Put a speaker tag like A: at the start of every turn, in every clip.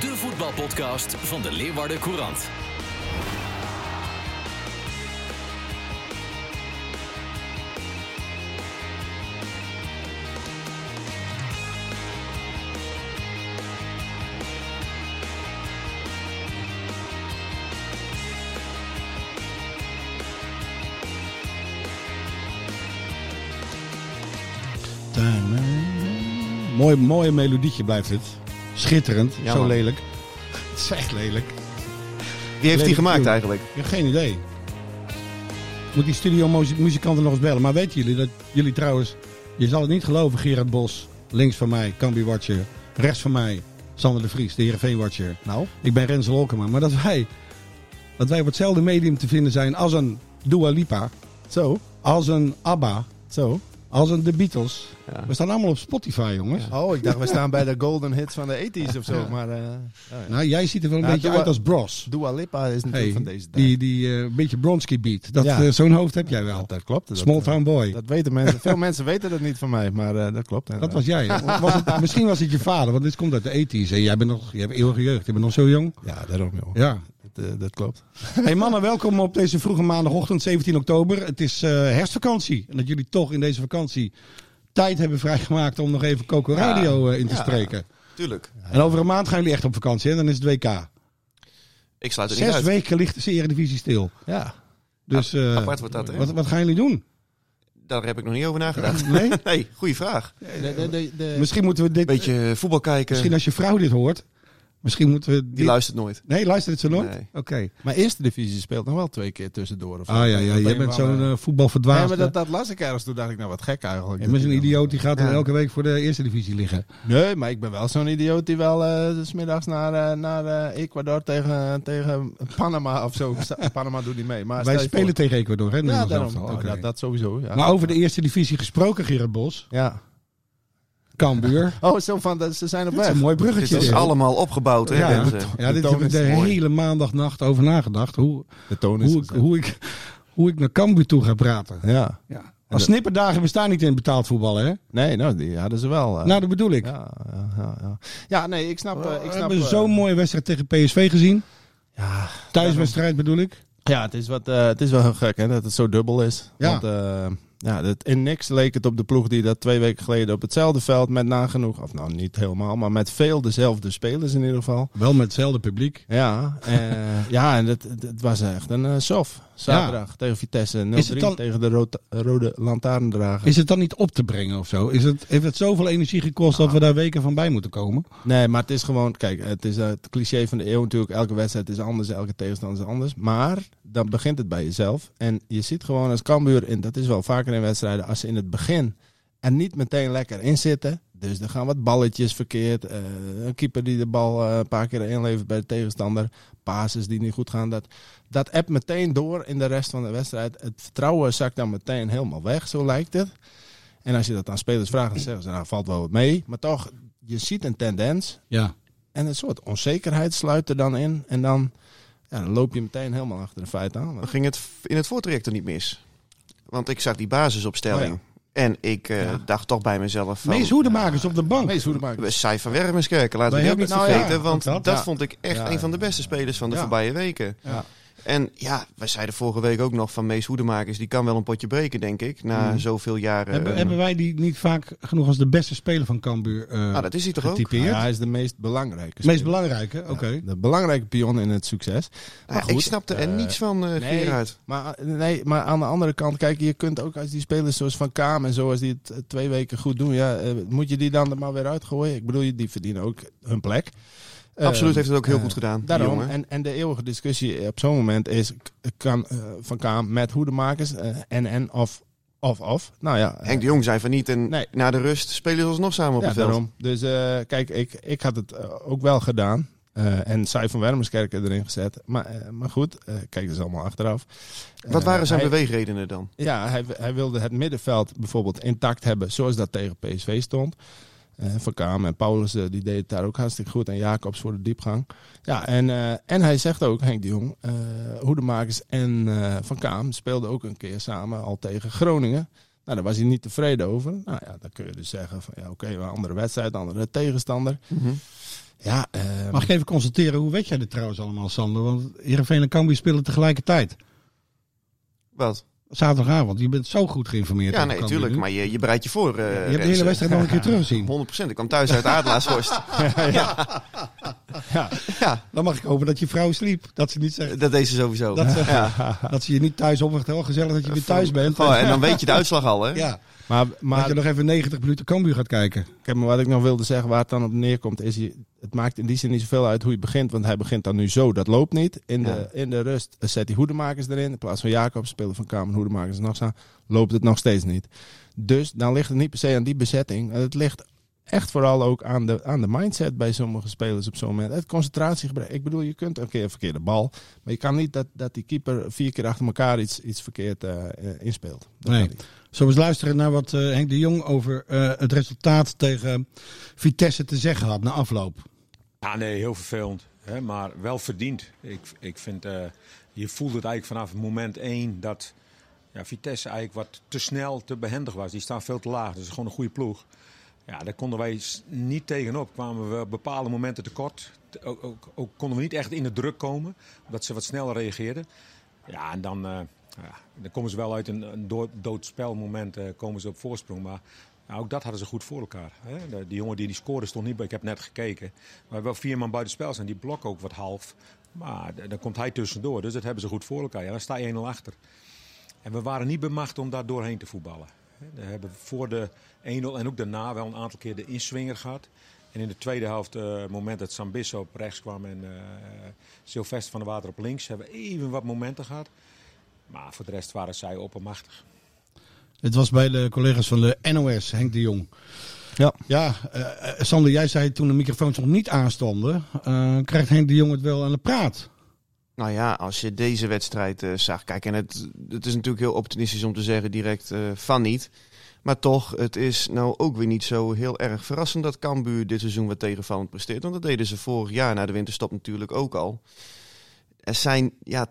A: de voetbalpodcast van de Leeuwarden Courant.
B: Mooi, mooi melodietje blijft het. Schitterend,
C: Ja,
B: zo
C: man.
B: lelijk. Het is echt lelijk.
C: Wie heeft
B: Lelijk
C: die gemaakt
B: tune.
C: eigenlijk?
B: Ik heb geen idee. Moet die studio muzi- muzikanten nog eens bellen. Maar weten jullie dat jullie trouwens, je zal het niet geloven, Gerard Bos, links van mij, Cambi Watcher, rechts van mij, Sander de Vries, de Heerenveen Watcher.
C: Nou,
B: Ik ben Rens Lolkema, maar dat wij, dat wij op hetzelfde medium te vinden zijn als een Dua Lipa,
C: zo,
B: als een ABBA,
C: zo.
B: als een The Beatles.
C: Ja.
B: We staan allemaal op Spotify, jongens.
D: Oh, ik dacht we staan bij de golden hits van de 80s of zo. Maar eh
B: Nou, jij ziet er wel een
D: Ja,
B: beetje
D: Dua-
B: uit als Bros.
D: Dua Lipa is natuurlijk
B: Hey,
D: van deze tijd.
B: die die eh, beetje Bronski beat. Dat,
D: Ja.
B: eh, zo'n hoofd heb jij wel.
D: dat klopt. Dat, eh,
B: Small Town Boy. Dat,
D: dat weten mensen. Veel mensen weten dat niet van mij, maar eh, dat klopt.
B: was jij. Was het- misschien was het je vader, want dit komt uit de 80s. En jij bent nog, je hebt eeuwige jeugd. Je bent nog zo jong.
D: Ja, daarom joh.
B: Ja.
D: Dat, eh, dat klopt.
B: Hey mannen, welkom op deze vroege maandagochtend, 17 oktober. Het is eh, herfstvakantie. En dat jullie toch in deze vakantie tijd hebben vrijgemaakt om nog even Coco Radio eh, in te spreken.
E: Tuurlijk.
B: En over een maand gaan jullie echt op vakantie. En dan is het WK.
E: Ik sluit het niet
B: Zes
E: uit.
B: weken ligt de Eredivisie stil.
D: Ja.
B: Dus eh,
E: apart wordt dat, hè?
B: wat, wat gaan jullie doen?
E: Daar heb ik nog niet over nagedacht.
B: Nee?
E: Nee, goede vraag.
B: Misschien moeten we dit...
E: Een beetje eh, voetbal kijken,
B: Misschien als je vrouw dit hoort. Misschien moeten we...
E: die luistert nooit.
B: Nee, luistert het zo nooit?
E: Nee.
B: Oké.
D: Maar eerste divisie speelt nog wel twee keer tussendoor. Of zo.
B: Ah ja, ja
D: Dat
B: jij bent
D: een of andere-
B: zo'n eh voetbalverdwaasde.
D: Nee, maar dat, dat las ik ergens. Toen dacht ik, nou wat gek eigenlijk.
B: Je bent een
D: Dat die
B: idioot die gaat dan
E: Ja.
B: elke week voor de eerste divisie liggen.
D: dan- Nee, maar ik ben wel zo'n idioot die wel eh, s smiddags naar, eh, naar eh, Ecuador tegen, tegen Panama of zo. Panama doet niet mee.
B: Wij
D: Maar stel je
B: spelen
D: voor-
B: tegen Ecuador, hè?
D: Ja,
B: Nederlands
D: daarom.
B: elftal.
D: Nou,
B: Oké. Nou.
D: dat, dat sowieso. Ja.
B: Maar over de eerste divisie gesproken, Gerard Bos.
D: ja.
B: Cambuur.
D: Oh, zo van, dat- ze zijn op
B: Dat is
D: weg.
B: een mooi bruggetje.
E: Het is
B: dit.
E: allemaal opgebouwd, hè,
B: Ja.
E: mensen?
B: Ja, dit
D: De toon
B: heb ik de
D: is mooi.
B: hele maandagnacht over nagedacht. Hoe,
D: De toon
B: hoe, ik, hoe, ik, hoe ik naar Cambuur toe ga praten.
D: Ja.
B: Ja. Als snipperdagen bestaan niet in betaald voetbal, hè?
D: Nee, nou, die hadden ze wel. eh.
B: Nou, dat bedoel ik.
D: ja, ja, ja, ja. ja, nee, ik snap... eh,
B: Oh,
D: ik
B: We
D: snap
B: hebben
D: eh,
B: zo'n mooie wedstrijd tegen PSV gezien.
D: Ja,
B: Thuiswedstrijd bedoel ik.
D: ja het, is wat, eh, het is wel heel gek hè, dat het zo dubbel is.
B: Ja.
D: Want, eh, ja, dat, in niks leek het op de ploeg die dat twee weken geleden op hetzelfde veld met nagenoeg... Of nou, niet helemaal, maar met veel dezelfde spelers in ieder geval.
B: Wel met hetzelfde publiek.
D: Ja, eh, ja en het, het, het was echt een eh, sof. Zaterdag tegen Vitesse 0-3
B: Is het dan-
D: tegen de rood- rode lantaarndrager.
B: Is het dan niet op te brengen of zo? Is het, heeft het zoveel energie gekost dat we daar weken van bij moeten komen?
D: Nee, maar het is gewoon, kijk, het is eh, het cliché van de eeuw natuurlijk. Elke wedstrijd is anders, elke tegenstander is anders. Maar dan begint het bij jezelf. En je ziet gewoon als Cambuur, en dat is wel vaker in wedstrijden, als ze in het begin er niet meteen lekker in zitten. Dus er gaan wat balletjes verkeerd. eh, een keeper die de bal eh, een paar keer inlevert bij de tegenstander. Pases die niet goed gaan. Dat, dat appt meteen door in de rest van de wedstrijd. Het vertrouwen zakt dan meteen helemaal weg, zo lijkt het. En als je dat aan spelers vraagt, dan zeggen ze, nou valt wel wat mee. Maar toch, je ziet een tendens.
B: Ja.
D: En een soort onzekerheid sluit er dan in. En dan, ja, dan loop je meteen helemaal achter de feiten aan.
E: Dan ging het v- in het voortraject er niet mis. Want ik zag die basisopstelling.
D: Oh
E: En ik eh, dacht toch bij mezelf van...
B: Mees Hoedemakers op de bank.
D: Mees Hoedemakers.
E: we Zij van Wermerskerken, laten we
B: Wij
E: die ook niet
B: hebben het
E: vergeten.
B: vergeten, want
E: want dat,
B: dat-
D: ja.
E: vond ik echt
D: Ja,
E: een van de
D: ja.
E: beste spelers van de
D: Ja.
E: voorbije weken.
D: Ja.
E: En ja, wij zeiden vorige week ook nog van Mees Hoedemakers... die kan wel een potje breken, denk ik, na zoveel jaren.
B: Hebben,
E: eh,
B: hebben wij die niet vaak genoeg als de beste speler van Cambuur eh
E: nou, dat is hij toch ook?
B: getypeerd?
D: Ja, hij is de meest belangrijke.
B: Meest
D: speler.
B: belangrijke, oké.
D: De belangrijke pion in het succes. Maar
E: Nou,
D: goed,
E: ik snapte er
D: eh,
E: niets van, eh
D: nee,
E: Gerard.
D: Maar, eh, nee, maar aan de andere kant, kijk, je kunt ook als die spelers zoals Van Kaam en zo, als die het eh, twee weken goed doen, ja, eh, moet je die dan er maar weer uitgooien? Ik bedoel, die verdienen ook hun plek.
E: Absoluut
D: Ehm,
E: heeft het ook heel
D: eh,
E: goed gedaan, die
D: Daarom,
E: jongen.
D: en, en de eeuwige discussie op zo'n moment is, k- kan eh, Van Kaam met hoedemakers eh, en en of of of? Nou ja, eh,
E: Henk de Jong zei van niet en
D: Nee.
E: na de rust spelen ze alsnog samen op
D: ja,
E: het veld.
D: daarom. Dus eh, kijk, ik, ik had het eh, ook wel gedaan. Eh, en Sai van Wermerskerken erin gezet. Maar, eh, maar goed, eh, kijk, dat is allemaal achteraf.
E: Wat
D: Eh,
E: waren zijn
D: hij-
E: beweegredenen dan?
D: ja, hij, hij wilde het middenveld bijvoorbeeld intact hebben, zoals dat tegen PSV stond. Eh, van Kaam en Paulus, eh, die deed het daar ook hartstikke goed. En Jacobs voor de diepgang. Ja, en, eh, en hij zegt ook, Henk de Jong, eh Hoedemakers en eh, Van Kaam speelden ook een keer samen al tegen Groningen. Nou, daar was hij niet tevreden over. Nou ja, dan kun je dus zeggen van, ja, oké, maar een andere wedstrijd, andere tegenstander. Ja, eh,
B: Mag ik even constateren, hoe weet jij dit trouwens allemaal, Sander? Want Heerenveen en Cambuur spelen tegelijkertijd.
E: Wat?
B: Zaterdagavond. Je bent zo goed geïnformeerd.
E: Ja,
B: over
E: nee,
B: Cambuur
E: tuurlijk.
B: nu.
E: Maar je, je bereidt je voor. eh,
B: je hebt de hele
E: Rensen.
B: wedstrijd nog een keer teruggezien.
E: 100%. Ik kwam thuis uit Adelaarshorst.
D: ja,
E: ja,
B: Dan mag ik hopen dat je vrouw sliep. Dat ze niet zegt,
E: dat deed ze sowieso.
B: Dat ze-
E: ja.
B: dat ze je niet thuis opwacht. Wel gezellig dat je weer thuis bent.
E: Oh, Goh, en dan weet je de uitslag al, hè?
B: Ja,
D: maar,
B: dat
D: maar
B: je nog even 90 minuten Cambuur gaat kijken.
D: Kijk, maar wat ik nog wilde zeggen, waar het dan op neerkomt, is je, het maakt in die zin niet zoveel uit hoe je begint, want hij begint dan nu zo, dat loopt niet. In de, in de rust zet hij hoedemakers erin, in plaats van Jacob, spelen van Kamer, hoedemakers nog aan, loopt het nog steeds niet. Dus dan ligt het niet per se aan die bezetting, het ligt echt vooral ook aan de, aan de mindset bij sommige spelers op zo'n moment. Het concentratiegebrek. Ik bedoel, je kunt een keer een verkeerde bal, maar je kan niet dat, dat die keeper vier keer achter elkaar iets, iets verkeerd eh, eh, inspeelt. Dat
B: Nee.
D: kan niet.
B: Zullen we eens luisteren naar wat eh, Henk de Jong over eh, het resultaat tegen Vitesse te zeggen had na afloop.
C: Ja, nee, heel vervelend. Hè, maar wel verdiend. Ik, ik vind, eh, je voelde het eigenlijk vanaf moment één dat ja, Vitesse eigenlijk wat te snel, te behendig was. Die staan veel te laag, dus het is gewoon een goede ploeg. Ja, daar konden wij s- niet tegenop. Kwamen we op bepaalde momenten tekort. T- Ook, ook, ook konden we niet echt in de druk komen, omdat ze wat sneller reageerden. Ja, en dan, eh, ja, dan komen ze wel uit een, een dood, doodspelmoment eh, komen ze op voorsprong. Maar nou, ook dat hadden ze goed voor elkaar. Hè? De, die jongen die, die scoorde stond niet bij. Ik heb net gekeken. Maar wel vier man buitenspel zijn. Die blok ook wat half. Maar d- dan komt hij tussendoor. Dus dat hebben ze goed voor elkaar. Ja, dan sta je 1-0 achter. En we waren niet bemacht om daar doorheen te voetballen. Hè, We hebben voor de 1-0 en ook daarna wel een aantal keer de inswinger gehad. En in de tweede helft, eh, het moment dat Sambisso op rechts kwam en eh Sylvester van der Water op links, hebben we even wat momenten gehad. Maar voor de rest waren zij oppermachtig.
B: Het was bij de collega's van de NOS, Henk de Jong.
D: Ja.
B: Ja, eh, eh, Sander, jij zei toen de microfoons nog niet aanstonden, eh, krijgt Henk de Jong het wel aan de praat.
E: Nou ja, als je deze wedstrijd eh, zag. Kijk, en het, het is natuurlijk heel optimistisch om te zeggen direct eh, van niet. Maar toch, het is nou ook weer niet zo heel erg verrassend dat Cambuur dit seizoen wat tegenvallend presteert. Want dat deden ze vorig jaar na de winterstop natuurlijk ook al. Er zijn, ja,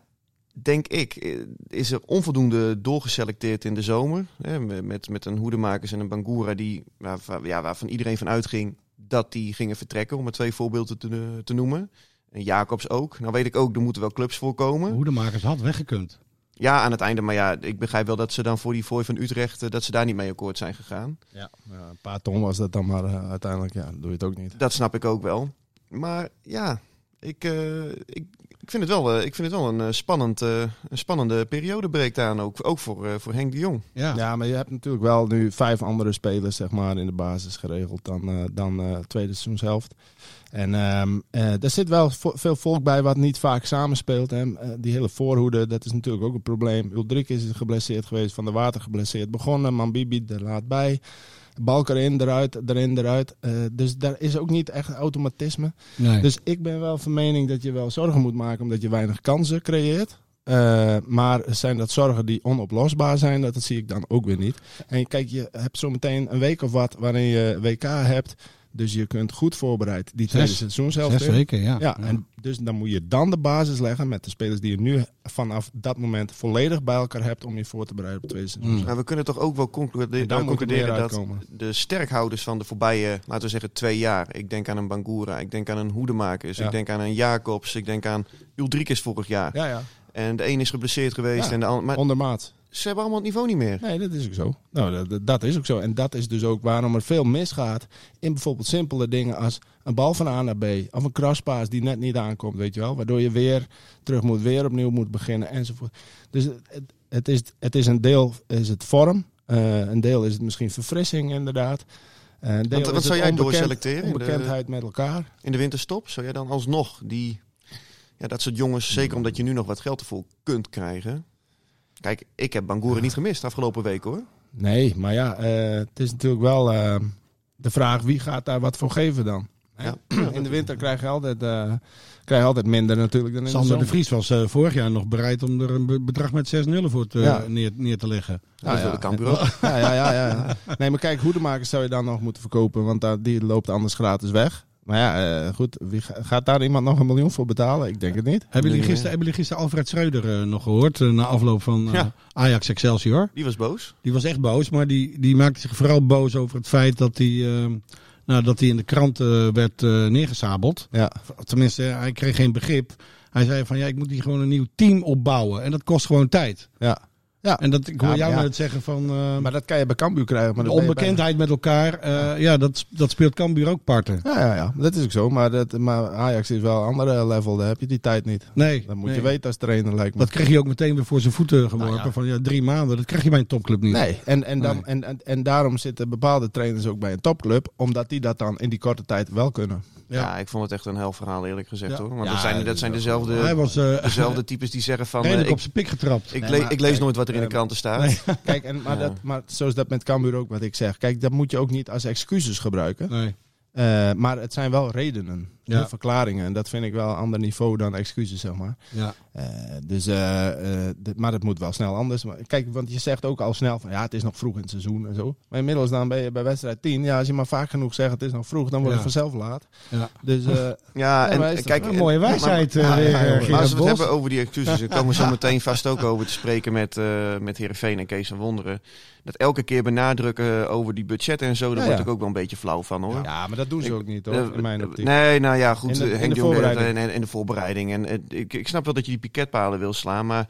E: denk ik, eh, is er onvoldoende doorgeselecteerd in de zomer. Hè, met, met een hoedemakers en een Bangura die, waar, waar- ja, waarvan iedereen van uitging dat die gingen vertrekken. Om maar twee voorbeelden te, eh, te noemen. En Jacobs ook. Nou weet ik ook, er moeten wel clubs voorkomen.
B: Hoedemakers had weggekund.
E: Ja, aan het einde. Maar ja, ik begrijp wel dat ze dan voor die fooi van Utrecht... eh, dat ze daar niet mee akkoord zijn gegaan.
D: Ja, ja, een paar ton was dat dan, maar eh, uiteindelijk ja, doe je het ook niet.
E: Dat snap ik ook wel. Maar ja, ik, eh, ik, ik, vind, het wel, eh, ik vind het wel een, eh, spannend, eh, een spannende periode breekt aan. Ook, ook voor, eh, voor Henk de Jong.
B: Ja.
D: Ja, maar je hebt natuurlijk wel nu vijf andere spelers zeg maar, in de basis geregeld dan, eh dan eh, tweede seizoenshelft. En ehm, eh, er zit wel vo- veel volk bij wat niet vaak samenspeelt. Hè. Eh, die hele voorhoede, dat is natuurlijk ook een probleem. Uldrik is geblesseerd geweest, Van der Water geblesseerd begonnen. Mambibi er laat bij. Balk erin, eruit, erin, eruit. Eh, dus daar is ook niet echt automatisme.
B: Nee.
D: Dus ik ben wel van mening dat je wel zorgen moet maken omdat je weinig kansen creëert. Eh, maar zijn dat zorgen die onoplosbaar zijn? Dat, dat zie ik dan ook weer niet. En kijk, je hebt zometeen een week of wat waarin je WK hebt. Dus je kunt goed voorbereid die tweede
B: Zes-
D: seizoenshelft
B: Zes
D: in.
B: weken, ja.
D: Ja, en dus dan moet je dan de basis leggen met de spelers die je nu vanaf dat moment volledig bij elkaar hebt om je voor te bereiden op het tweede seizoen.
B: Hmm.
E: Maar we kunnen toch ook wel conclude-
D: En dan moet er
E: concluderen
D: meer
E: dat
D: uitkomen.
E: de sterkhouders van de voorbije, laten we zeggen, twee jaar. Ik denk aan een Bangura, ik denk aan een Hoedemakers,
D: Ja.
E: ik denk aan een Jacobs, ik denk aan Uldrikis vorig jaar.
D: Ja, ja,
E: En de een is geblesseerd geweest
D: Ja.
E: en de ander... Maar
D: ondermaat.
E: ze hebben allemaal het niveau niet meer.
D: Nee, dat is ook zo. Nou, dat- dat, dat is ook zo. En dat is dus ook waarom er veel misgaat in bijvoorbeeld simpele dingen als een bal van A naar B of een crosspaas die net niet aankomt, weet je wel. Waardoor je weer terug moet, weer opnieuw moet beginnen enzovoort. Dus het, het- het, is, het is een deel is het vorm, eh, een deel is het misschien verfrissing inderdaad. Eh, Een deel
E: wat
D: is
E: zou
D: het
E: jij
D: onbekend-
E: doorselecteren in de-
D: Onbekendheid met elkaar.
E: In de winterstop zou jij dan alsnog die, ja, dat soort jongens, zeker omdat je nu nog wat geld ervoor kunt krijgen. Kijk, ik heb Bangura niet gemist afgelopen week hoor.
D: Nee, maar ja, eh, het is natuurlijk wel eh, de vraag wie gaat daar wat voor geven dan. hè? In de winter krijg je altijd, eh, krijg je altijd minder natuurlijk dan in de
B: Sander de
D: zomer.
B: Vries was eh, vorig jaar nog bereid om er een be- bedrag met 6-0 voor te,
D: Ja.
B: neer, neer te leggen.
E: dat wil de Cambuur ook.
D: Ja, ja, ja, ja, ja. Nee, maar kijk, hoedemakers zou je dan nog moeten verkopen, want daar, die loopt anders gratis weg. Maar ja, eh, goed, wie ga- gaat daar iemand nog een miljoen voor betalen? Ik denk het niet.
B: Hebben jullie
E: Nee,
B: gisteren, hebben jullie gisteren Alfred Schreuder eh, nog gehoord eh, na afloop van eh,
E: Ja.
B: Ajax Excelsior?
E: Die was boos.
B: Die was echt boos, maar die, die maakte zich vooral boos over het feit dat hij ehm, nou, dat hij in de krant eh, werd eh neergesabeld.
D: Ja,
B: Of Tenminste, eh, hij kreeg geen begrip. Hij zei van ja, ik moet hier gewoon een nieuw team opbouwen en dat kost gewoon tijd.
D: ja. ja.
B: En dat, ik hoor
D: Ja,
B: jou
D: maar ja.
B: net zeggen van eh,
D: maar dat kan je bij Cambuur krijgen. Maar
B: de
D: dat ben je bijna-
B: onbekendheid met elkaar, eh, ja, dat, dat speelt Cambuur ook parten.
D: Ja, ja, ja, dat is ook zo. Maar, dat, maar Ajax is wel een andere level. Daar heb je die tijd niet.
B: Nee,
D: Dat moet
B: nee.
D: je weten als trainer, lijkt me.
B: Dat kreeg je ook meteen weer voor zijn voeten geworpen.
D: Nou ja.
B: Van ja, drie maanden, dat krijg je bij een topclub niet.
D: Nee, en, en, dan,
B: Nee.
D: En, en, en daarom zitten bepaalde trainers ook bij een topclub, omdat die dat dan in die korte tijd wel kunnen.
B: Ja.
E: Ja. ik vond het echt een hel verhaal eerlijk gezegd
B: Ja.
E: hoor. Want
D: Ja,
E: dat zijn,
D: dat
E: dat zijn
D: is
B: Hij
E: dezelfde,
B: was eh
E: dezelfde types die zeggen van... eh,
B: redelijk op
E: ik,
B: zijn pik getrapt.
E: ik,
D: Nee,
E: le-
D: maar-
E: ik lees
D: kijk,
E: nooit wat er in de
D: eh,
E: kranten staat.
B: nee.
D: Kijk, en, maar,
E: Ja.
D: dat, maar zo is dat met Cambuur ook wat ik zeg. Kijk, dat moet je ook niet als excuses gebruiken.
B: Nee.
D: Eh, maar het zijn wel redenen,
B: Ja.
D: hè, verklaringen. En dat vind ik wel een ander niveau dan excuses, zeg maar.
B: Ja.
D: Eh, dus, eh, eh, dit- maar het moet wel snel anders. Maar, kijk, want je zegt ook al snel van ja, het is nog vroeg in het seizoen en zo. Maar inmiddels dan ben je bij wedstrijd 10. Ja, als je maar vaak genoeg zegt het is nog vroeg, dan wordt
B: Ja.
D: het vanzelf laat.
B: Ja.
D: Dus eh,
E: Ja, en
D: maar is dat
E: kijk...
B: Een
E: en-
B: mooie
E: maar-
B: wijsheid eh,
D: ja,
B: weer,
D: ja,
B: eh,
D: jongen.
E: Maar als we
B: Gerard
E: het
B: Bos.
E: hebben over die excuses, dan komen we zo meteen vast ook over te spreken met, eh met Heerenveen en Kees van Wonderen. Dat elke keer benadrukken eh, over die budgetten en zo, daar
D: Ja,
E: word
D: ja.
E: ik ook wel een beetje flauw van hoor.
D: ja, maar dat doen ze
E: Ik-
D: ook niet hoor,
E: Eh,
D: in mijn optiek.
E: Nee, nou ja, goed.
D: In de-
E: eh,
D: in
E: Henk
D: de
E: Jong deed dat
D: voorbereiding.
E: en, en de voorbereiding. En, eh, ik, ik snap wel dat je die piketpalen wil slaan, maar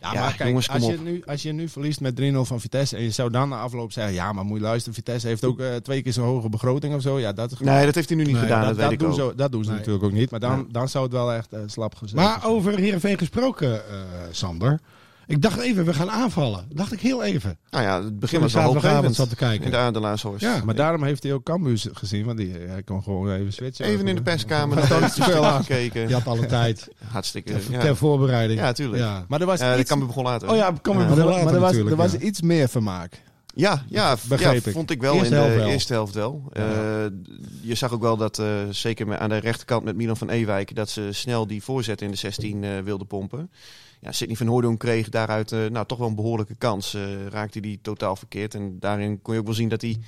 D: Ja,
E: Ja,
D: maar kijk,
E: jongens, kom
D: als, je
E: op.
D: nu, als je nu verliest met 3-0 van Vitesse en je zou dan na afloop zeggen, ja, maar moet je luisteren, Vitesse heeft ook eh, twee keer zo'n hoge begroting of zo. Ja, dat, is-
E: nee, dat heeft hij nu niet
B: Nee,
E: gedaan,
D: dat,
E: dat,
D: dat
E: weet
D: doen
E: ik ook.
D: ze, dat doen ze
B: Nee.
D: natuurlijk ook niet, maar dan,
E: Nee.
D: dan zou het wel echt eh, slap gezet
B: Maar over Heerenveen gesproken, eh, Sander. Ik dacht even, we gaan aanvallen. Dacht ik heel even.
E: Nou ja, het begin
B: Toen ik
E: was al
B: zaterdagavond
E: hoopgevend.
B: zat te kijken.
E: In de Adelaarshorst.
B: Ja.
D: Maar daarom heeft hij ook Cambuur gezien, want die, eh, hij kon gewoon even switchen.
E: Even in de perskamer, nog even
D: veel aan.
E: gekeken.
B: Je had alle tijd.
E: Hartstikke.
B: Ter, ter
E: Ja,
B: voorbereiding.
E: ja tuurlijk. Ja.
B: Ja.
D: Maar er was
E: de
D: iets...
E: Cambuur begon later.
B: Oh ja, kom
E: Ja.
B: maar
D: maar er,
B: later
D: was- maar er was,
B: natuurlijk.
D: er was
B: ja.
D: iets meer vermaak.
E: Ja, ja, v-
D: Begreep
E: ja,
D: ik.
E: vond ik wel
B: Eerste
E: in de
B: helft wel.
E: eerste helft wel. Eh, je zag ook wel dat, eh, zeker met- aan de rechterkant met Milan van Ewijk, dat ze snel die voorzet in de 16 eh, wilden pompen. Ja, Sidney van Hoordonk kreeg daaruit eh, nou, toch wel een behoorlijke kans. Eh, raakte die totaal verkeerd. En daarin kon je ook wel zien dat hij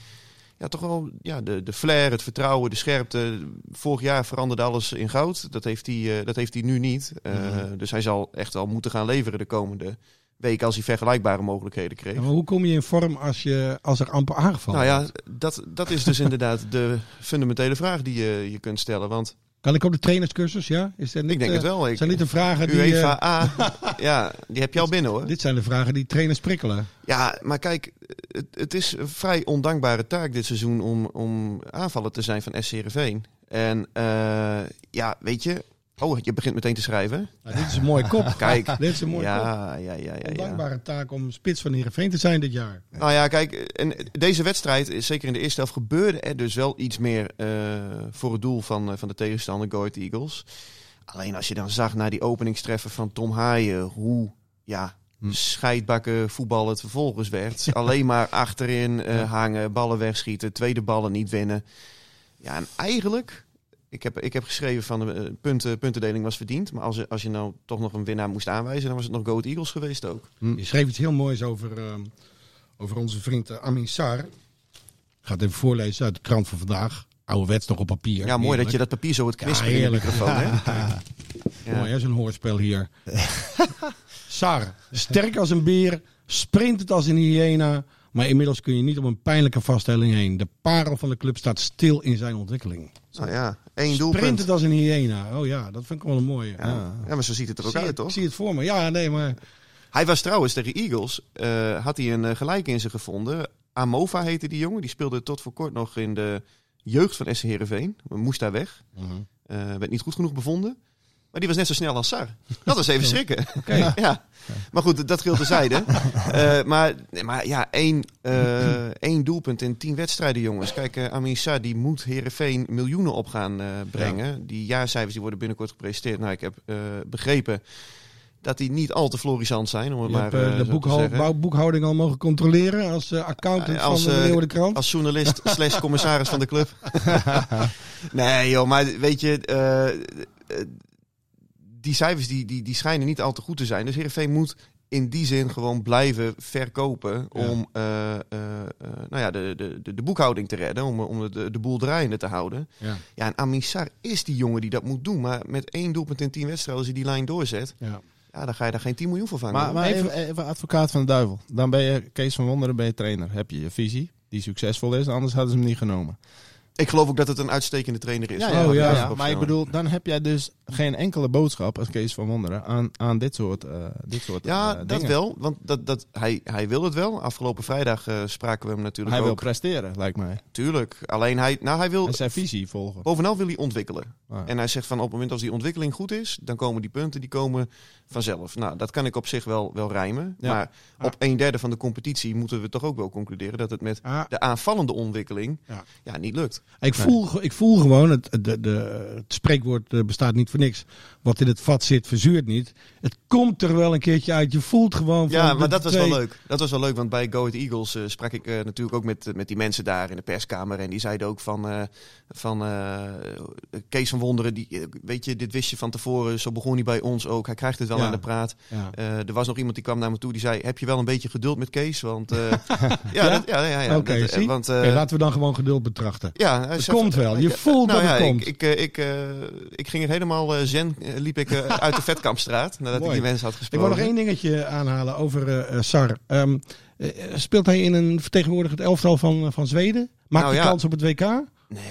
E: ja, toch wel ja, de, de flair, het vertrouwen, de scherpte. Vorig jaar veranderde alles in goud. Dat heeft hij, eh, dat heeft hij nu niet. Eh,
B: Mhm.
E: Dus hij zal echt wel moeten gaan leveren de komende weken als hij vergelijkbare mogelijkheden kreeg.
B: Ja, maar hoe kom je in vorm als, je, als er amper aangevallen
E: Nou ja,
B: wordt?
E: dat, dat is dus inderdaad de fundamentele vraag die je, je kunt stellen. Want
B: Kan ik op de trainerscursus? Ja? Is dat niet,
E: ik denk
B: eh,
E: het wel. Ik,
B: Zijn dit de vragen die... eh,
E: UEFA A, ja, die heb je al binnen hoor.
B: dit zijn de vragen die trainers prikkelen.
E: Ja, maar kijk, het, het is een vrij ondankbare taak dit seizoen om, om aanvallen te zijn van SC Heerenveen. En eh, ja, weet je... Oh, je begint meteen te schrijven.
B: Nou, dit is een mooie kop.
E: Kijk.
B: Dit is een mooie kop.
E: Ja, ja, ja, ja. ja.
B: Ondankbare taak om spits van Heerenveen te zijn dit jaar.
E: Nou ja, kijk, en deze wedstrijd, zeker in de eerste helft, gebeurde er dus wel iets meer eh, voor het doel van, eh, van de tegenstander, Go Ahead Eagles. Alleen als je dan zag na die openingstreffer van Tom Haaien, hoe ja,
B: Hm.
E: scheidbakken voetbal het vervolgens werd. Alleen maar achterin eh, hangen, ballen wegschieten, tweede ballen niet winnen. Ja, en eigenlijk, ik heb, ik heb geschreven van de eh, punten, puntendeling was verdiend. Maar als, je- als je nou toch nog een winnaar moest aanwijzen, dan was het nog Go Ahead Eagles geweest ook.
B: Je schreef iets heel moois over, ehm, over onze vriend eh, Amin Sar. Ik ga het even voorlezen uit de krant van vandaag. Ouderwets nog op papier.
E: Ja, mooi dat je dat papier zo het
B: Ja,
E: kwispelen in de
B: heerlijk.
E: microfoon, hè?
B: Ja. Mooi, hè, zo'n hoorspel hier. Sar, sterk als een beer, sprintend als een hyena. Maar inmiddels kun je niet om een pijnlijke vaststelling heen. De parel van de club staat stil in zijn ontwikkeling.
E: Nou ja, één doelpunt.
B: Sprintend als een hyena. Oh ja, dat vind ik wel een mooie.
E: Ja. ja, maar zo ziet het er ook
B: Zie
E: uit,
B: het,
E: toch?
B: ik zie het voor me. Ja, nee, maar
E: Hij was trouwens tegen Eagles, eh, had hij een eh, gelijk in zich gevonden. Amova heette die jongen, die speelde tot voor kort nog in de jeugd van SC Heerenveen. Moest daar weg,
B: Mhm.
E: Eh, werd niet goed genoeg bevonden. Maar die was net zo snel als Sar. Dat was even schrikken. Ja. Maar goed, dat geldt terzijde. Eh maar, nee, maar ja, één, eh, één doelpunt in tien wedstrijden, jongens. Kijk, eh, Amin Sar, die moet Heerenveen miljoenen op gaan eh, brengen. Die jaarcijfers die worden binnenkort gepresenteerd. Nou, ik heb eh, begrepen dat die niet al te florissant zijn. Om het
B: Je
E: maar,
B: hebt
E: eh,
B: eh,
E: zo
B: de
E: te
B: boekhou-
E: zeggen.
B: bou- boekhouding al mogen controleren als eh, accountant
E: Eh, als,
B: van de
E: eh,
B: Leeuwardenkrant.
E: Als journalist slash commissaris van de club. nee joh, maar weet je, eh, eh, die cijfers die, die, die schijnen niet al te goed te zijn. Dus Heerenveen moet in die zin gewoon blijven verkopen om eh, eh, eh, nou ja, de, de, de, de boekhouding te redden, om, om de, de boel draaiende te houden.
B: Ja.
E: ja, en Amissar is die jongen die dat moet doen. Maar met één doelpunt in tien wedstrijden, als hij die lijn doorzet,
B: Ja.
E: ja, dan ga je daar geen 10 miljoen voor vangen.
D: Maar, maar
E: hoor.
D: even, even advocaat van de duivel. Dan ben je Kees van Wonderen, ben je trainer. Heb je je visie, die succesvol is, anders hadden ze hem niet genomen.
E: ik geloof ook dat het een uitstekende trainer is.
D: Ja,
E: hoor.
D: ja,
B: Oh, ja.
D: ja,
E: op
D: maar ik
E: zo'n-
D: bedoel, dan heb jij dus geen enkele boodschap als Kees van Wonderen aan, aan dit soort, eh, dit soort
E: Ja,
D: eh,
E: dat
D: dingen.
E: wel. Want dat, dat, hij, hij wil het wel. Afgelopen vrijdag eh, spraken we hem natuurlijk
D: Hij wil
E: ook.
D: presteren, lijkt mij.
E: Tuurlijk. Alleen hij, nou, hij wil,
D: En zijn visie volgen.
E: bovenal wil hij ontwikkelen.
D: Ah.
E: En hij zegt van op het moment als die ontwikkeling goed is, dan komen die punten, die komen vanzelf. Nou, dat kan ik op zich wel, wel rijmen.
D: Ja.
E: Maar op een derde van de competitie moeten we toch ook wel concluderen dat het met
B: Ah,
E: de aanvallende ontwikkeling
B: Ja.
E: ja. niet lukt.
B: ik, voel, ge- ik voel gewoon, het, de, de, het spreekwoord eh, bestaat niet voor niks. Wat in het vat zit, verzuurt niet. Het komt er wel een keertje uit. Je voelt gewoon van...
E: Ja,
B: de
E: maar dat was
B: twee-
E: wel leuk. Dat was wel leuk, want bij Go Ahead Eagles eh, sprak ik eh, natuurlijk ook met, met die mensen daar in de perskamer. En die zeiden ook van, eh, van eh, Kees van Wonderen, die, eh, weet je, dit wist je van tevoren. Zo begon hij bij ons ook. Hij krijgt het wel
B: Ja.
E: aan de praat.
B: Ja.
E: Eh, er was nog iemand die kwam naar me toe, die zei, heb je wel een beetje geduld met Kees? Want, eh, ja, dat- ja, ja, ja.
B: Oké,
E: dat, eh,
B: zie.
E: want, eh,
B: Oké, laten we dan gewoon geduld betrachten.
E: ja, hij
B: Het
E: zei-
B: komt wel. Je voelt
E: nou
B: dat
E: ja,
B: het komt.
E: Ik, ik, eh, ik, eh, ik ging er helemaal eh, zen, eh, liep ik eh, uit de Vetkampstraat, nadat ik
B: Mooi.
E: die mensen had
B: Ik
E: gesproken.
B: wil nog één dingetje aanhalen over eh, eh, Sar. Ehm, eh, speelt hij in een vertegenwoordigend elftal van, eh, van Zweden? Maakt
E: Nou
B: hij
E: ja.
B: kans op het WK?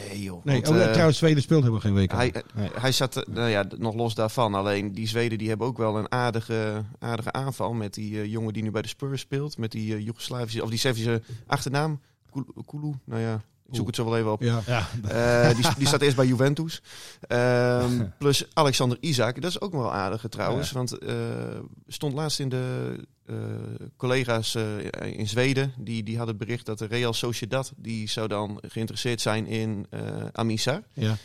E: Nee joh.
B: Nee,
E: want,
B: oh, ja,
E: eh,
B: trouwens, Zweden speelt helemaal geen WK.
E: Hij, hij zat, eh, nou ja, d- nog los daarvan. Alleen die Zweden die hebben ook wel een aardige, aardige aanval met die eh, jongen die nu bij de Spurs speelt. Met die eh, Joegoslavische, of die Servische achternaam. Kulu- Kulu, nou ja, ik zoek het zo wel even op.
B: ja.
E: Eh, die, die staat eerst bij Juventus. Ehm, plus Alexander Isaac, dat is ook wel aardig trouwens. Want eh, stond laatst in de eh, collega's eh, in Zweden. Die, die hadden bericht dat de Real Sociedad, die zou dan geïnteresseerd zijn in eh Amisa.
B: Ja.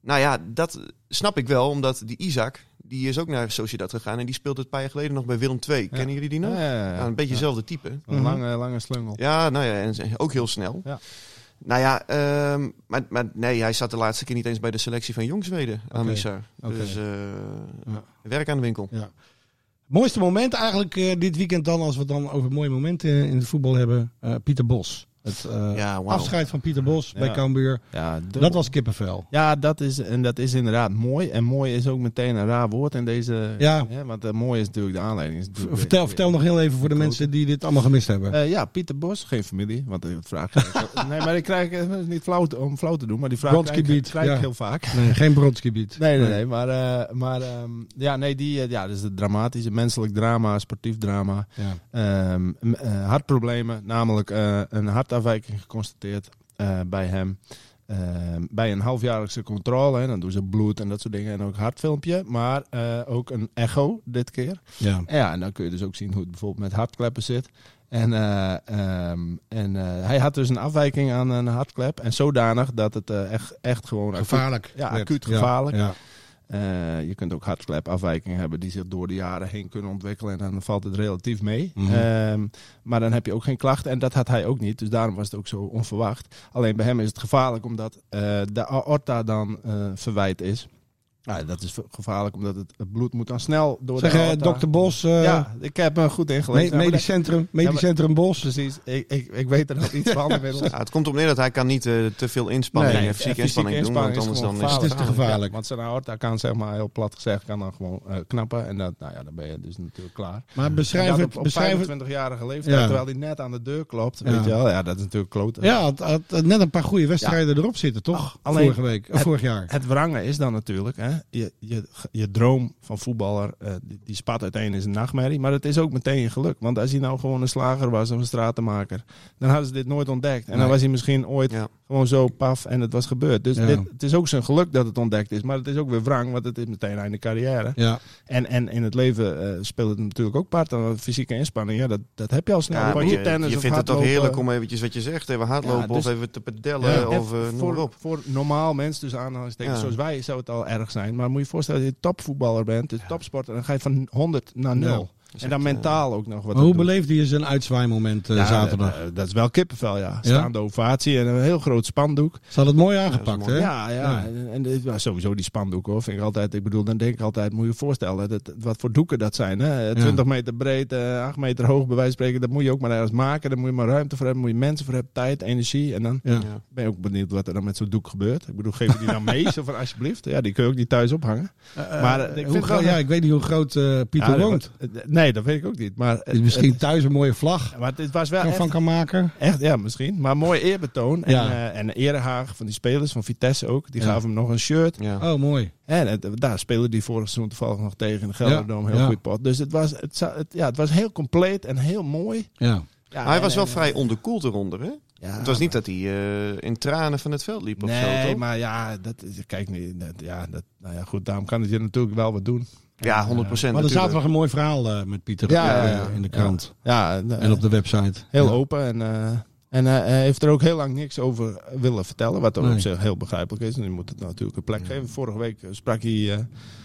E: Nou ja, dat snap ik wel, omdat die Isaac, die is ook naar Sociedad gegaan. En die speelde het een paar jaar geleden nog bij Willem II. Kennen jullie die nog?
D: Ja, ja, ja.
E: Nou, een beetje hetzelfde type.
D: Een lange, lange slungel.
E: Ja, nou ja, en ze- ook heel snel.
D: Ja.
E: Nou ja, ehm, maar, maar nee, hij zat de laatste keer niet eens bij de selectie van Jong Zweden, Amisa.
B: oké.
E: Dus eh,
B: Ja.
E: werk aan de winkel.
B: Ja. Mooiste moment eigenlijk eh, dit weekend dan, als we het dan over mooie momenten in het voetbal hebben. eh, Pieter Bos. Het eh,
E: Ja, wauw.
B: afscheid van Pieter Bos bij
D: Ja.
B: Cambuur.
D: Ja, dubbel.
B: Dat was kippenvel.
D: Ja, dat is, en dat is inderdaad mooi. En mooi is ook meteen een raar woord in deze...
B: Ja.
D: Hè, want eh, mooi is natuurlijk de aanleiding. Is
B: V-
D: natuurlijk
B: Vertel, vertel nog heel even voor de mensen die dit allemaal gemist hebben.
D: Eh, ja, Pieter Bos, geen familie, want eh, dat vraag ik. nee, maar ik krijg eh, het is niet flauw te- om flauw te doen, maar die vraag
B: Bronski
D: krijg, ik-
B: Beat,
D: krijg ik
B: ja.
D: heel vaak.
B: Nee, geen bronsgebied.
D: Nee, nee, nee, maar, eh, maar ehm, ja, nee, die, eh, ja, dat is het dramatische, menselijk drama, sportief drama.
B: Ja.
D: Ehm, m- eh, hartproblemen, namelijk eh, een hartafwijking geconstateerd eh, bij hem. Ehm, bij een halfjaarlijkse controle, hè, dan doen ze bloed en dat soort dingen en ook hartfilmpje, maar eh, ook een echo dit keer.
B: Ja.
D: En ja, en dan kun je dus ook zien hoe het bijvoorbeeld met hartkleppen zit. En, eh, ehm, en eh, hij had dus een afwijking aan een hartklep en zodanig dat het eh, echt, echt gewoon acuut-
B: Gevaarlijk.
D: Ja,
B: werd.
D: acuut
B: Ja,
D: gevaarlijk.
B: Ja.
D: Eh, je kunt ook hartklepafwijkingen hebben die zich door de jaren heen kunnen ontwikkelen. En dan valt het relatief mee.
B: Mhm.
D: Ehm, maar dan heb je ook geen klachten. En dat had hij ook niet. Dus daarom was het ook zo onverwacht. Alleen bij hem is het gevaarlijk omdat eh, de aorta dan eh, verwijt is. Nou, dat is gevaarlijk omdat het het bloed moet dan snel door
B: Zeg,
D: de
B: eh,
D: aorta.
B: dokter Bos, eh,
D: ja, ik heb me goed
B: me-
D: ingelezen.
B: medisch centrum, medisch
D: maar-
B: centrum Bos.
D: Precies. Ik, ik, ik weet er nog iets van inmiddels.
E: Ja, het komt op neer dat hij kan niet eh, te veel inspanning,
D: Nee,
E: eh, fysieke
D: eh,
E: inspanning doen, want
D: inspanning is
E: anders
D: gewoon
E: dan is het
B: Het is te gevaarlijk.
D: Ja, want zijn aorta kan, zeg maar, heel plat gezegd, kan dan gewoon eh, knappen. En dat, nou ja, dan ben je dus natuurlijk klaar.
B: Maar
D: En
B: beschrijf
D: dat
B: het.
D: op, op
B: Beschrijf het.
D: 25-jarige leeftijd,
B: Ja.
D: terwijl hij net aan de deur klopt.
B: Ja.
D: Weet je wel, ja, dat is natuurlijk kloten.
B: Ja, het had net een paar goede wedstrijden erop zitten, toch?
D: Oh, alleen-
B: vorige week, eh,
D: het-
B: vorig jaar.
D: Het wrange is dan natuurlijk, hè, je, je, je droom van voetballer, eh, die, die spat uiteen is een nachtmerrie. Maar het is ook meteen je geluk. Want als hij nou gewoon een slager was of een stratenmaker, dan hadden ze dit nooit ontdekt. En
B: Nee.
D: dan was hij misschien ooit
E: Ja.
D: Gewoon zo, paf, en het was gebeurd. Dus
B: Ja.
D: dit, het is ook zijn geluk dat het ontdekt is. Maar het is ook weer wrang, want het is meteen einde carrière.
B: Ja,
D: En, en in het leven eh, speelt het natuurlijk ook part. aan fysieke inspanning, ja, dat, dat heb je al snel.
E: Ja, maar
D: Want
E: je, je
D: of
E: vindt het toch
D: hardlopen-
E: heerlijk om eventjes wat je zegt, even hardlopen
D: Ja, dus-
E: of even te pedellen
D: Ja.
E: of eh,
D: En
E: noem
D: voor,
E: maar op.
D: voor normaal mensen, dus aanhalingstekens,
E: Ja.
D: zoals wij, zou het al erg zijn. Maar moet je je voorstellen dat je topvoetballer bent, een topsporter, en dan ga je van 100 naar 0.
E: is
D: en dan
E: echt, eh,
D: mentaal ook nog wat.
B: maar hoe
D: aan doen.
B: beleefde je zijn uitzwaai-moment eh,
D: Ja,
B: zaterdag?
D: eh, eh, dat is wel kippenvel, ja. Staande ovatie en een heel groot spandoek.
B: Ze hadden het mooi
E: dat
B: aangepakt,
E: is
B: hè?
E: mooi.
D: Ja, ja.
B: Ja.
D: En, en dit- ja, sowieso die spandoek hoor. Vind ik altijd. Ik bedoel, dan denk ik altijd, moet je je voorstellen dat, wat voor doeken dat zijn. Hè? 20 meter breed, eh 8 meter hoog, bij wijze van spreken. Dat moet je ook maar ergens maken. Daar moet je maar ruimte voor hebben. Moet je mensen voor hebben, tijd, energie. En dan
B: Ja.
E: Ja.
D: ben je ook benieuwd wat er dan met zo'n doek gebeurt. Ik bedoel, geef je die nou mee, zo van alsjeblieft. Ja, die kun je ook niet thuis ophangen.
B: Eh,
D: Maar,
B: eh,
D: eh, ik
B: hoe
D: vind
B: gro-
D: wel-
B: ja, ik weet niet hoe groot eh, Pieter
D: Ja, dat- eh,
B: woont.
D: Nee, dat weet ik ook niet. Maar, het-
E: Dus
B: Die misschien thuis een mooie vlag
D: het- maar het was wel echt
B: van kan maken.
D: Echt, ja, misschien. Maar mooi eerbetoon. En,
B: Ja.
D: eh, en erehaag van die spelers, van Vitesse ook. Die
B: Ja.
D: gaven hem nog een shirt.
E: Ja.
B: Oh, mooi.
D: En het- eh, daar speelde die vorig seizoen toevallig nog tegen in de Gelderdoom.
B: Ja,
D: Heel
B: ja.
D: goed pot. Dus het was, het, za- het- ja, het was heel compleet en heel mooi.
B: Ja.
D: Ja,
E: Maar hij
D: en-
E: was wel
D: en-
E: vrij onderkoeld eronder, hè?
D: ja,
E: het was niet dat hij eh, in tranen van het veld liep of zo,
D: Nee,
E: toch?
D: maar ja, dat, is- kijk, nee, dat, ja, dat, nou ja, goed, daarom kan het je natuurlijk wel wat doen.
E: Ja, 100 procent
B: Maar er
E: natuurlijk.
B: zaterdag een mooi verhaal eh, met Pieter
D: Ja,
B: eh,
D: ja, ja.
B: in de krant.
D: Ja, en, eh,
B: En op de website.
D: heel
B: Ja.
D: open en... eh, en eh, hij heeft er ook heel lang niks over willen vertellen, wat
B: Nee.
D: op zich heel begrijpelijk is. En je moet het natuurlijk een plek geven. Vorige week eh, sprak hij, eh,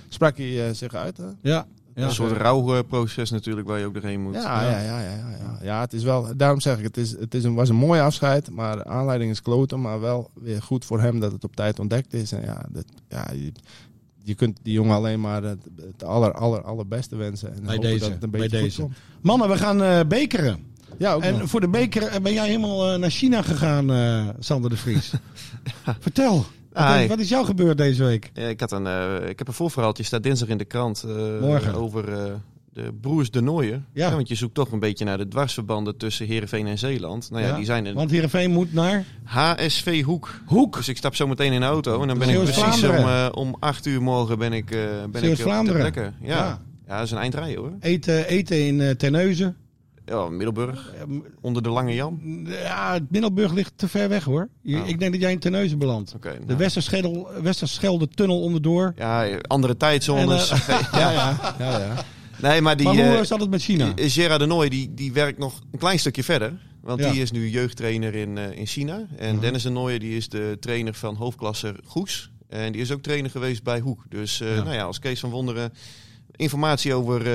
D: sprak hij eh, zich uit. Hè?
B: Ja. ja.
E: Een soort rouwproces natuurlijk waar je ook doorheen moet.
D: Ja, ja, ja, ja, ja, ja. ja, het is wel, daarom zeg ik, het, is, het is een, was een mooi afscheid, maar de aanleiding is kloten, maar wel weer goed voor hem dat het op tijd ontdekt is. En ja, dat, ja je, je kunt die jongen alleen maar het, het aller, aller, allerbeste wensen. En
B: Bij
D: hopen
B: deze,
D: dat het een
B: bij
D: beetje
B: deze.
D: Goed
B: Mannen, we gaan eh, bekeren.
D: komt. Ja, ook
B: en
D: nog.
B: voor de beker eh, ben jij helemaal eh, naar China gegaan, eh, Sander de Vries. Vertel, wat,
E: Ah,
B: is- wat is jou gebeurd deze week?
E: Ja, ik, had een, eh, ik heb een voorverhaaltje, staat dinsdag in de krant. eh,
B: Morgen.
E: Over eh, de broers de Nooijen.
B: Ja.
E: Ja. want je zoekt toch een beetje naar de dwarsverbanden tussen Heerenveen en Zeeland. Nou ja,
B: Ja,
E: die zijn een
B: Want Heerenveen moet naar...
E: HSV Hoek.
B: Hoek.
E: Dus ik stap zo meteen in de auto en dan ben ik precies om,
B: Zeeuws-Vlaanderen.
E: eh, om acht uur morgen ben ik, eh ben ik op de
B: Zeeuws-Vlaanderen.
E: plekken. Ja.
B: Ja.
E: Ja. dat is een eindrij hoor.
B: Eten, eten in eh Terneuzen.
E: Ja, Middelburg,
B: Eh, m-
E: onder de Lange Jan. Oké.
B: Ja, Middelburg ligt te ver weg hoor. Je-
E: Oh.
B: Ik denk dat jij in Terneuzen belandt.
E: nou.
B: De Westerschelde, Westerschelde tunnel onderdoor.
E: Ja, andere tijdzones.
B: En, eh,
D: ja, ja, ja, ja.
E: nee, maar die...
B: maar hoe
E: eh,
B: zat het met China?
E: Eh, Gerard de Nooy die, die werkt nog een klein stukje verder. Want
B: Ja. Mhm.
E: die is nu jeugdtrainer in, eh, in China. En Dennis de Nooy die is de trainer van hoofdklasser Goes. En die is ook trainer geweest bij Hoek. Dus eh,
B: Ja.
E: nou ja, als Kees van Wonderen informatie over eh,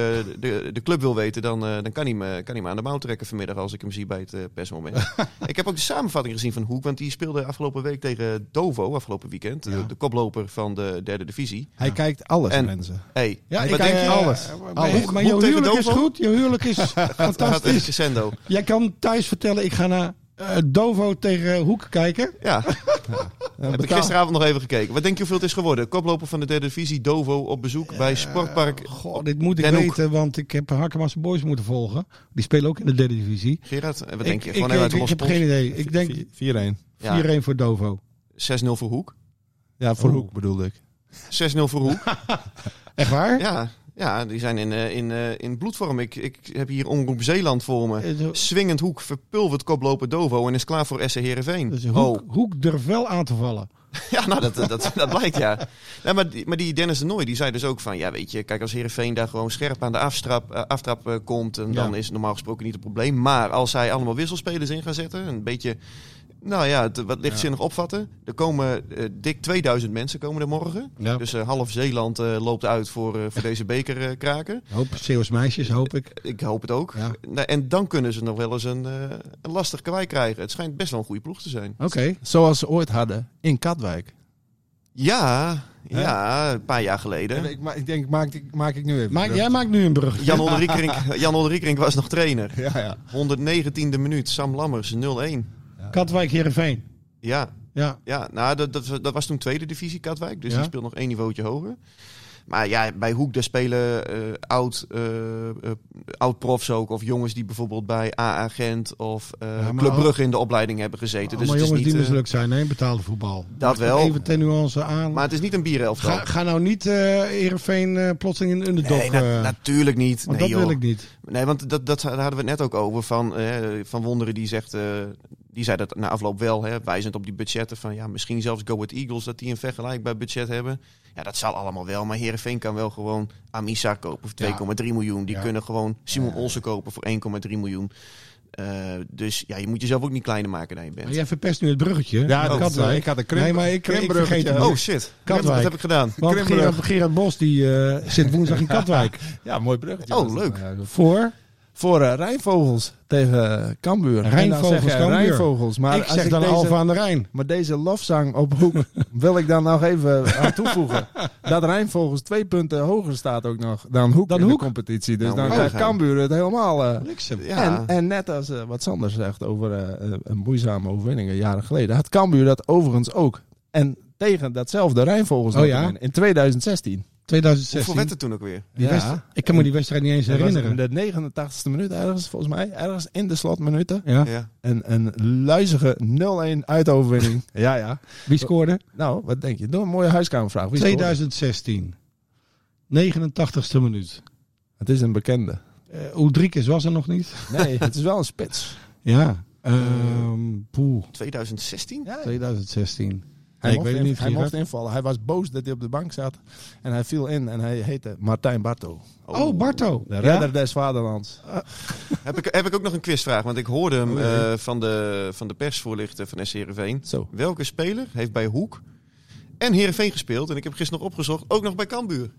E: de, de club wil weten... dan, eh, dan kan, hij me, kan hij me aan de mouw trekken vanmiddag als ik hem zie bij het eh, persmoment. ik heb ook de samenvatting gezien van Hoek. Want die speelde afgelopen week tegen Dovo, afgelopen weekend. eh,
B: Ja.
E: De, de koploper van de derde divisie.
D: Hij kijkt alles,
E: En-
D: mensen.
E: Hey,
B: Ja,
E: wat
B: ik
E: denk
B: eh,
E: je?
D: Alles.
B: eh, Maar,
D: Alles.
B: maar
E: Hoek
B: jouw
E: tegen
B: huwelijk is
E: Dovo?
B: goed. Je huwelijk is
E: Gaat even
B: fantastisch.
E: crescendo.
B: Jij kan thuis vertellen, ik ga naar eh, Dovo tegen eh, Hoek kijken.
E: Ja.
D: Eh,
E: Heb ik
D: betaal-
E: gisteravond nog even gekeken. Wat denk je hoeveel het is geworden? Koploper van de derde divisie, Dovo op bezoek bij Sportpark.
B: Goh, dit moet ik
E: Den Hoek.
B: weten, want ik heb Harkemasse Boys moeten volgen. Die spelen ook in de derde divisie.
E: Gerard, eh, wat denk je?
B: Ik,
E: Gewoon
B: ik,
E: even
B: ik,
E: uit de
B: ik
E: losse
B: heb geen idee. Ik denk 4-1
D: Vier- 4-1.
E: pols. Ja,
B: voor Dovo.
E: 6-0 voor Hoek. 6-0
D: Ja, voor
B: Oh.
D: Hoek bedoelde ik.
E: voor Hoek.
B: Echt waar?
E: Ja, ja die zijn in, eh, in, eh, in bloedvorm. Ik, ik heb hier Omroep Zeeland voor me.
B: Eh, zo-
E: Swingend Hoek verpulvert koploper Dovo en is klaar voor SC Heerenveen.
B: Dus
E: Ho.
D: Oh.
B: Hoek, Hoek durft wel aan te vallen.
E: Ja, nou, dat, dat, dat blijkt, ja. Nee, maar, die, maar die Dennis de Nooy, die zei dus ook van... Ja, weet je, kijk, als Heerenveen daar gewoon scherp aan de afstrap, eh, aftrap eh, komt... En dan
B: Ja.
E: is het normaal gesproken niet het probleem. Maar als zij allemaal wisselspelers in gaan zetten... Een beetje, nou ja, het, wat lichtzinnig opvatten. Er komen eh, dik 2000 mensen komen er morgen.
B: Ja.
E: Dus eh, half Zeeland eh, loopt uit voor, eh, voor deze bekerkraken.
B: Hoop Zeeuws meisjes, hoop ik.
E: Ik hoop het ook.
B: Ja.
E: Nou, en dan kunnen ze nog wel eens een, eh, een lastig kwijt krijgen. Het schijnt best wel een goede ploeg te zijn.
B: Oké.
D: Zoals ze ooit hadden in Katwijk.
E: Ja, ja een paar jaar geleden.
D: Ik, ma- ik denk, maak ik, maak ik nu even.
B: Maak- jij maakt nu een brug.
E: Jan Olderiekrink, Jan Olderiekrink was nog trainer.
D: Ja, ja.
E: 119e minuut, Sam Lammers 0-1.
B: Katwijk, Heerenveen.
E: Ja,
B: Ja.
E: ja nou, dat, dat, dat was toen tweede divisie Katwijk, dus
B: Ja.
E: die speelt nog één niveautje hoger. Maar ja, bij Hoek daar spelen eh, oud, eh, eh, oud-profs ook, of jongens die bijvoorbeeld bij AA Gent of eh
B: maar
E: Club
B: ook-
E: Brugge in de opleiding hebben gezeten. Dus
B: Allemaal
E: het is
B: jongens
E: niet,
B: die
E: eh,
B: mislukt zijn, nee, betaalde voetbal.
E: dat wel,
B: Even ten nuance aan.
E: maar het is niet een bierenelftal.
B: ga, ga nou niet eh Heerenveen eh, plotseling in de underdog.
E: nee, na-
B: eh,
E: natuurlijk niet.
B: want
E: nee,
B: dat
E: joh.
B: wil ik niet.
E: Nee, want dat, dat, daar hadden we het net ook over. Van, eh, van Wonderen die zegt, eh, Die zei dat na afloop wel, hè, wijzend op die budgetten van ja, misschien zelfs Go With Eagles dat die een vergelijkbaar budget hebben. Ja, dat zal allemaal wel, maar Herenveen kan wel gewoon Amisa kopen
B: Ja.
E: voor 2,3 miljoen. Die
B: Ja.
E: kunnen gewoon Simon Olsen kopen voor 1,3 miljoen. Eh, dus ja, je moet jezelf ook niet kleiner maken dan je bent.
B: Maar jij verpest nu het bruggetje.
D: Ja, dat,
B: Katwijk.
D: eh, ik had een krimp,
B: Nee, maar ik, ik vergeet het
E: Oh
B: niet.
E: shit,
B: Katwijk.
E: wat heb ik gedaan?
B: Want
D: krimbrug.
B: Gerard, Gerard Bos die, eh, zit woensdag in Katwijk.
D: Ja, mooi bruggetje.
E: Oh,
D: was dat
E: leuk.
D: nou, ja.
B: Voor.
D: Voor eh, Rijnvogels tegen eh, Cambuur. En dan
B: Rijnvogels,
D: zeg jij
B: Cambuur.
D: Rijnvogels. Maar
B: ik
D: als
B: zeg dan
D: deze,
B: Alfa aan de Rijn.
D: Maar deze lofzang op hoek wil ik dan nog even aan toevoegen. dat Rijnvogels twee punten hoger staat ook nog dan Hoek
B: Dan
D: in
B: Hoek?
D: de competitie. Dus
E: Nou,
D: dan
E: maar
D: krijgt
E: we gaan-
D: Cambuur het helemaal... eh,
E: Ja.
D: En, en net als eh, wat Sander zegt over eh, eh, een moeizame overwinning een jaren geleden, had Cambuur dat overigens ook. En tegen datzelfde Rijnvogels
B: Oh
D: nog te
B: ja?
D: winnen. in 2016.
B: 2016.
E: Hoeveel werd het toen ook weer?
B: Die
D: Ja.
B: wedstrijd- ik kan me die wedstrijd niet eens
D: Dat was in
B: herinneren.
D: de 89ste minuut ergens, volgens mij. Ergens in de slotminuten.
B: Ja.
E: Ja.
D: Een, een luizige 0-1 uitoverwinning. ja, ja.
B: Wie scoorde?
D: Nou, wat denk je? Doe een mooie huiskamervraag. Wie scoorde?
B: 2016. 89ste minuut.
D: Het is een bekende.
B: Uh, Oedrikes was er nog niet.
D: Nee, het is wel een spits.
B: Ja. Ehm poeh.
E: 2016?
D: Ja,
B: 2016.
D: Hij,
B: ik
D: mocht,
B: weet het
D: in-
B: niet,
D: hij
B: Gerard.
D: mocht invallen. Hij was boos dat hij op de bank zat. En hij viel in en hij heette Martijn Barto.
B: Oh, Barto.
D: De redder des vaderlands.
E: Heb ik, heb ik ook nog een quizvraag, want ik hoorde hem
B: Oh, jee.
E: eh, van, de, van de persvoorlichter van SC Heerenveen.
D: Zo.
E: Welke speler heeft bij Hoek en Heerenveen gespeeld? En ik heb gisteren nog opgezocht, ook nog bij Cambuur.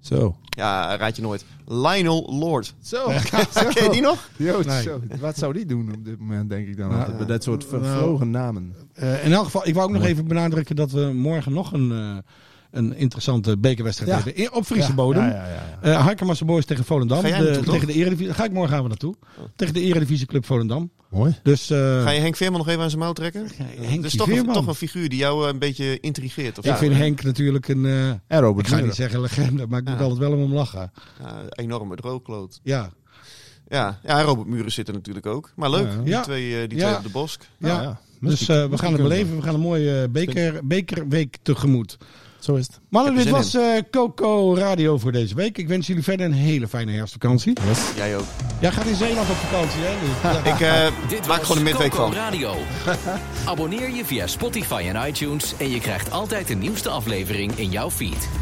D: Zo.
E: Ja, raad je nooit. Lionel Lord.
D: Zo.
E: Ken je die nog?
D: Joost,
B: Nee.
D: zo. Wat zou die doen op dit moment, denk ik dan?
B: Nou,
D: altijd, bij dat soort vervlogen namen.
B: Eh, in elk geval, ik wou ook nog even benadrukken dat we morgen nog een, eh, een interessante bekerwedstrijd
D: Ja.
B: hebben. In- Op Friese bodem.
D: Ja,
B: Eh
D: ja, ja, ja.
B: Harkermasse Boys tegen Volendam.
E: Ga jij
B: De-
E: naartoe, toch?
B: tegen de Eredivisie. Ga ik morgen gaan we naartoe.
D: Oh.
B: Tegen de Eredivisie Club Volendam.
D: Mooi.
B: Dus eh,
E: Ga je Henk Veerman nog even aan zijn mouw trekken?
B: Henkie
E: dat is toch een,
B: Veerman.
E: toch een figuur die jou eh, een beetje intrigeert. Of
B: ik
E: zo.
B: vind Henk natuurlijk een, eh,
D: En Robert
B: ik ga niet
D: Muren.
B: zeggen legende, maar ik moet
E: Ja.
B: altijd wel om hem lachen.
E: Ja, enorme droogkloot.
B: Ja,
E: Ja. ja, Robert Muren zit er natuurlijk ook. Maar leuk,
D: Ja.
E: die,
B: Ja.
E: twee, eh, die
B: Ja.
E: twee op de bosk.
B: ja.
D: Ah, ja.
B: Dus eh, we gaan het beleven. We gaan een mooie eh, beker, bekerweek tegemoet.
D: Zo is het.
B: Mannen,
E: Ik
B: dit
E: heb er
B: was eh, Coco Radio voor deze week. Ik wens jullie verder een hele fijne herfstvakantie.
E: Jij ook.
B: Jij gaat in Zeeland op vakantie, hè? Dus, ja.
E: Ik eh,
A: Dit
E: maak
A: was
E: gewoon een midweek
A: Coco
E: van.
A: Radio. Abonneer je via Spotify en iTunes en je krijgt altijd de nieuwste aflevering in jouw feed.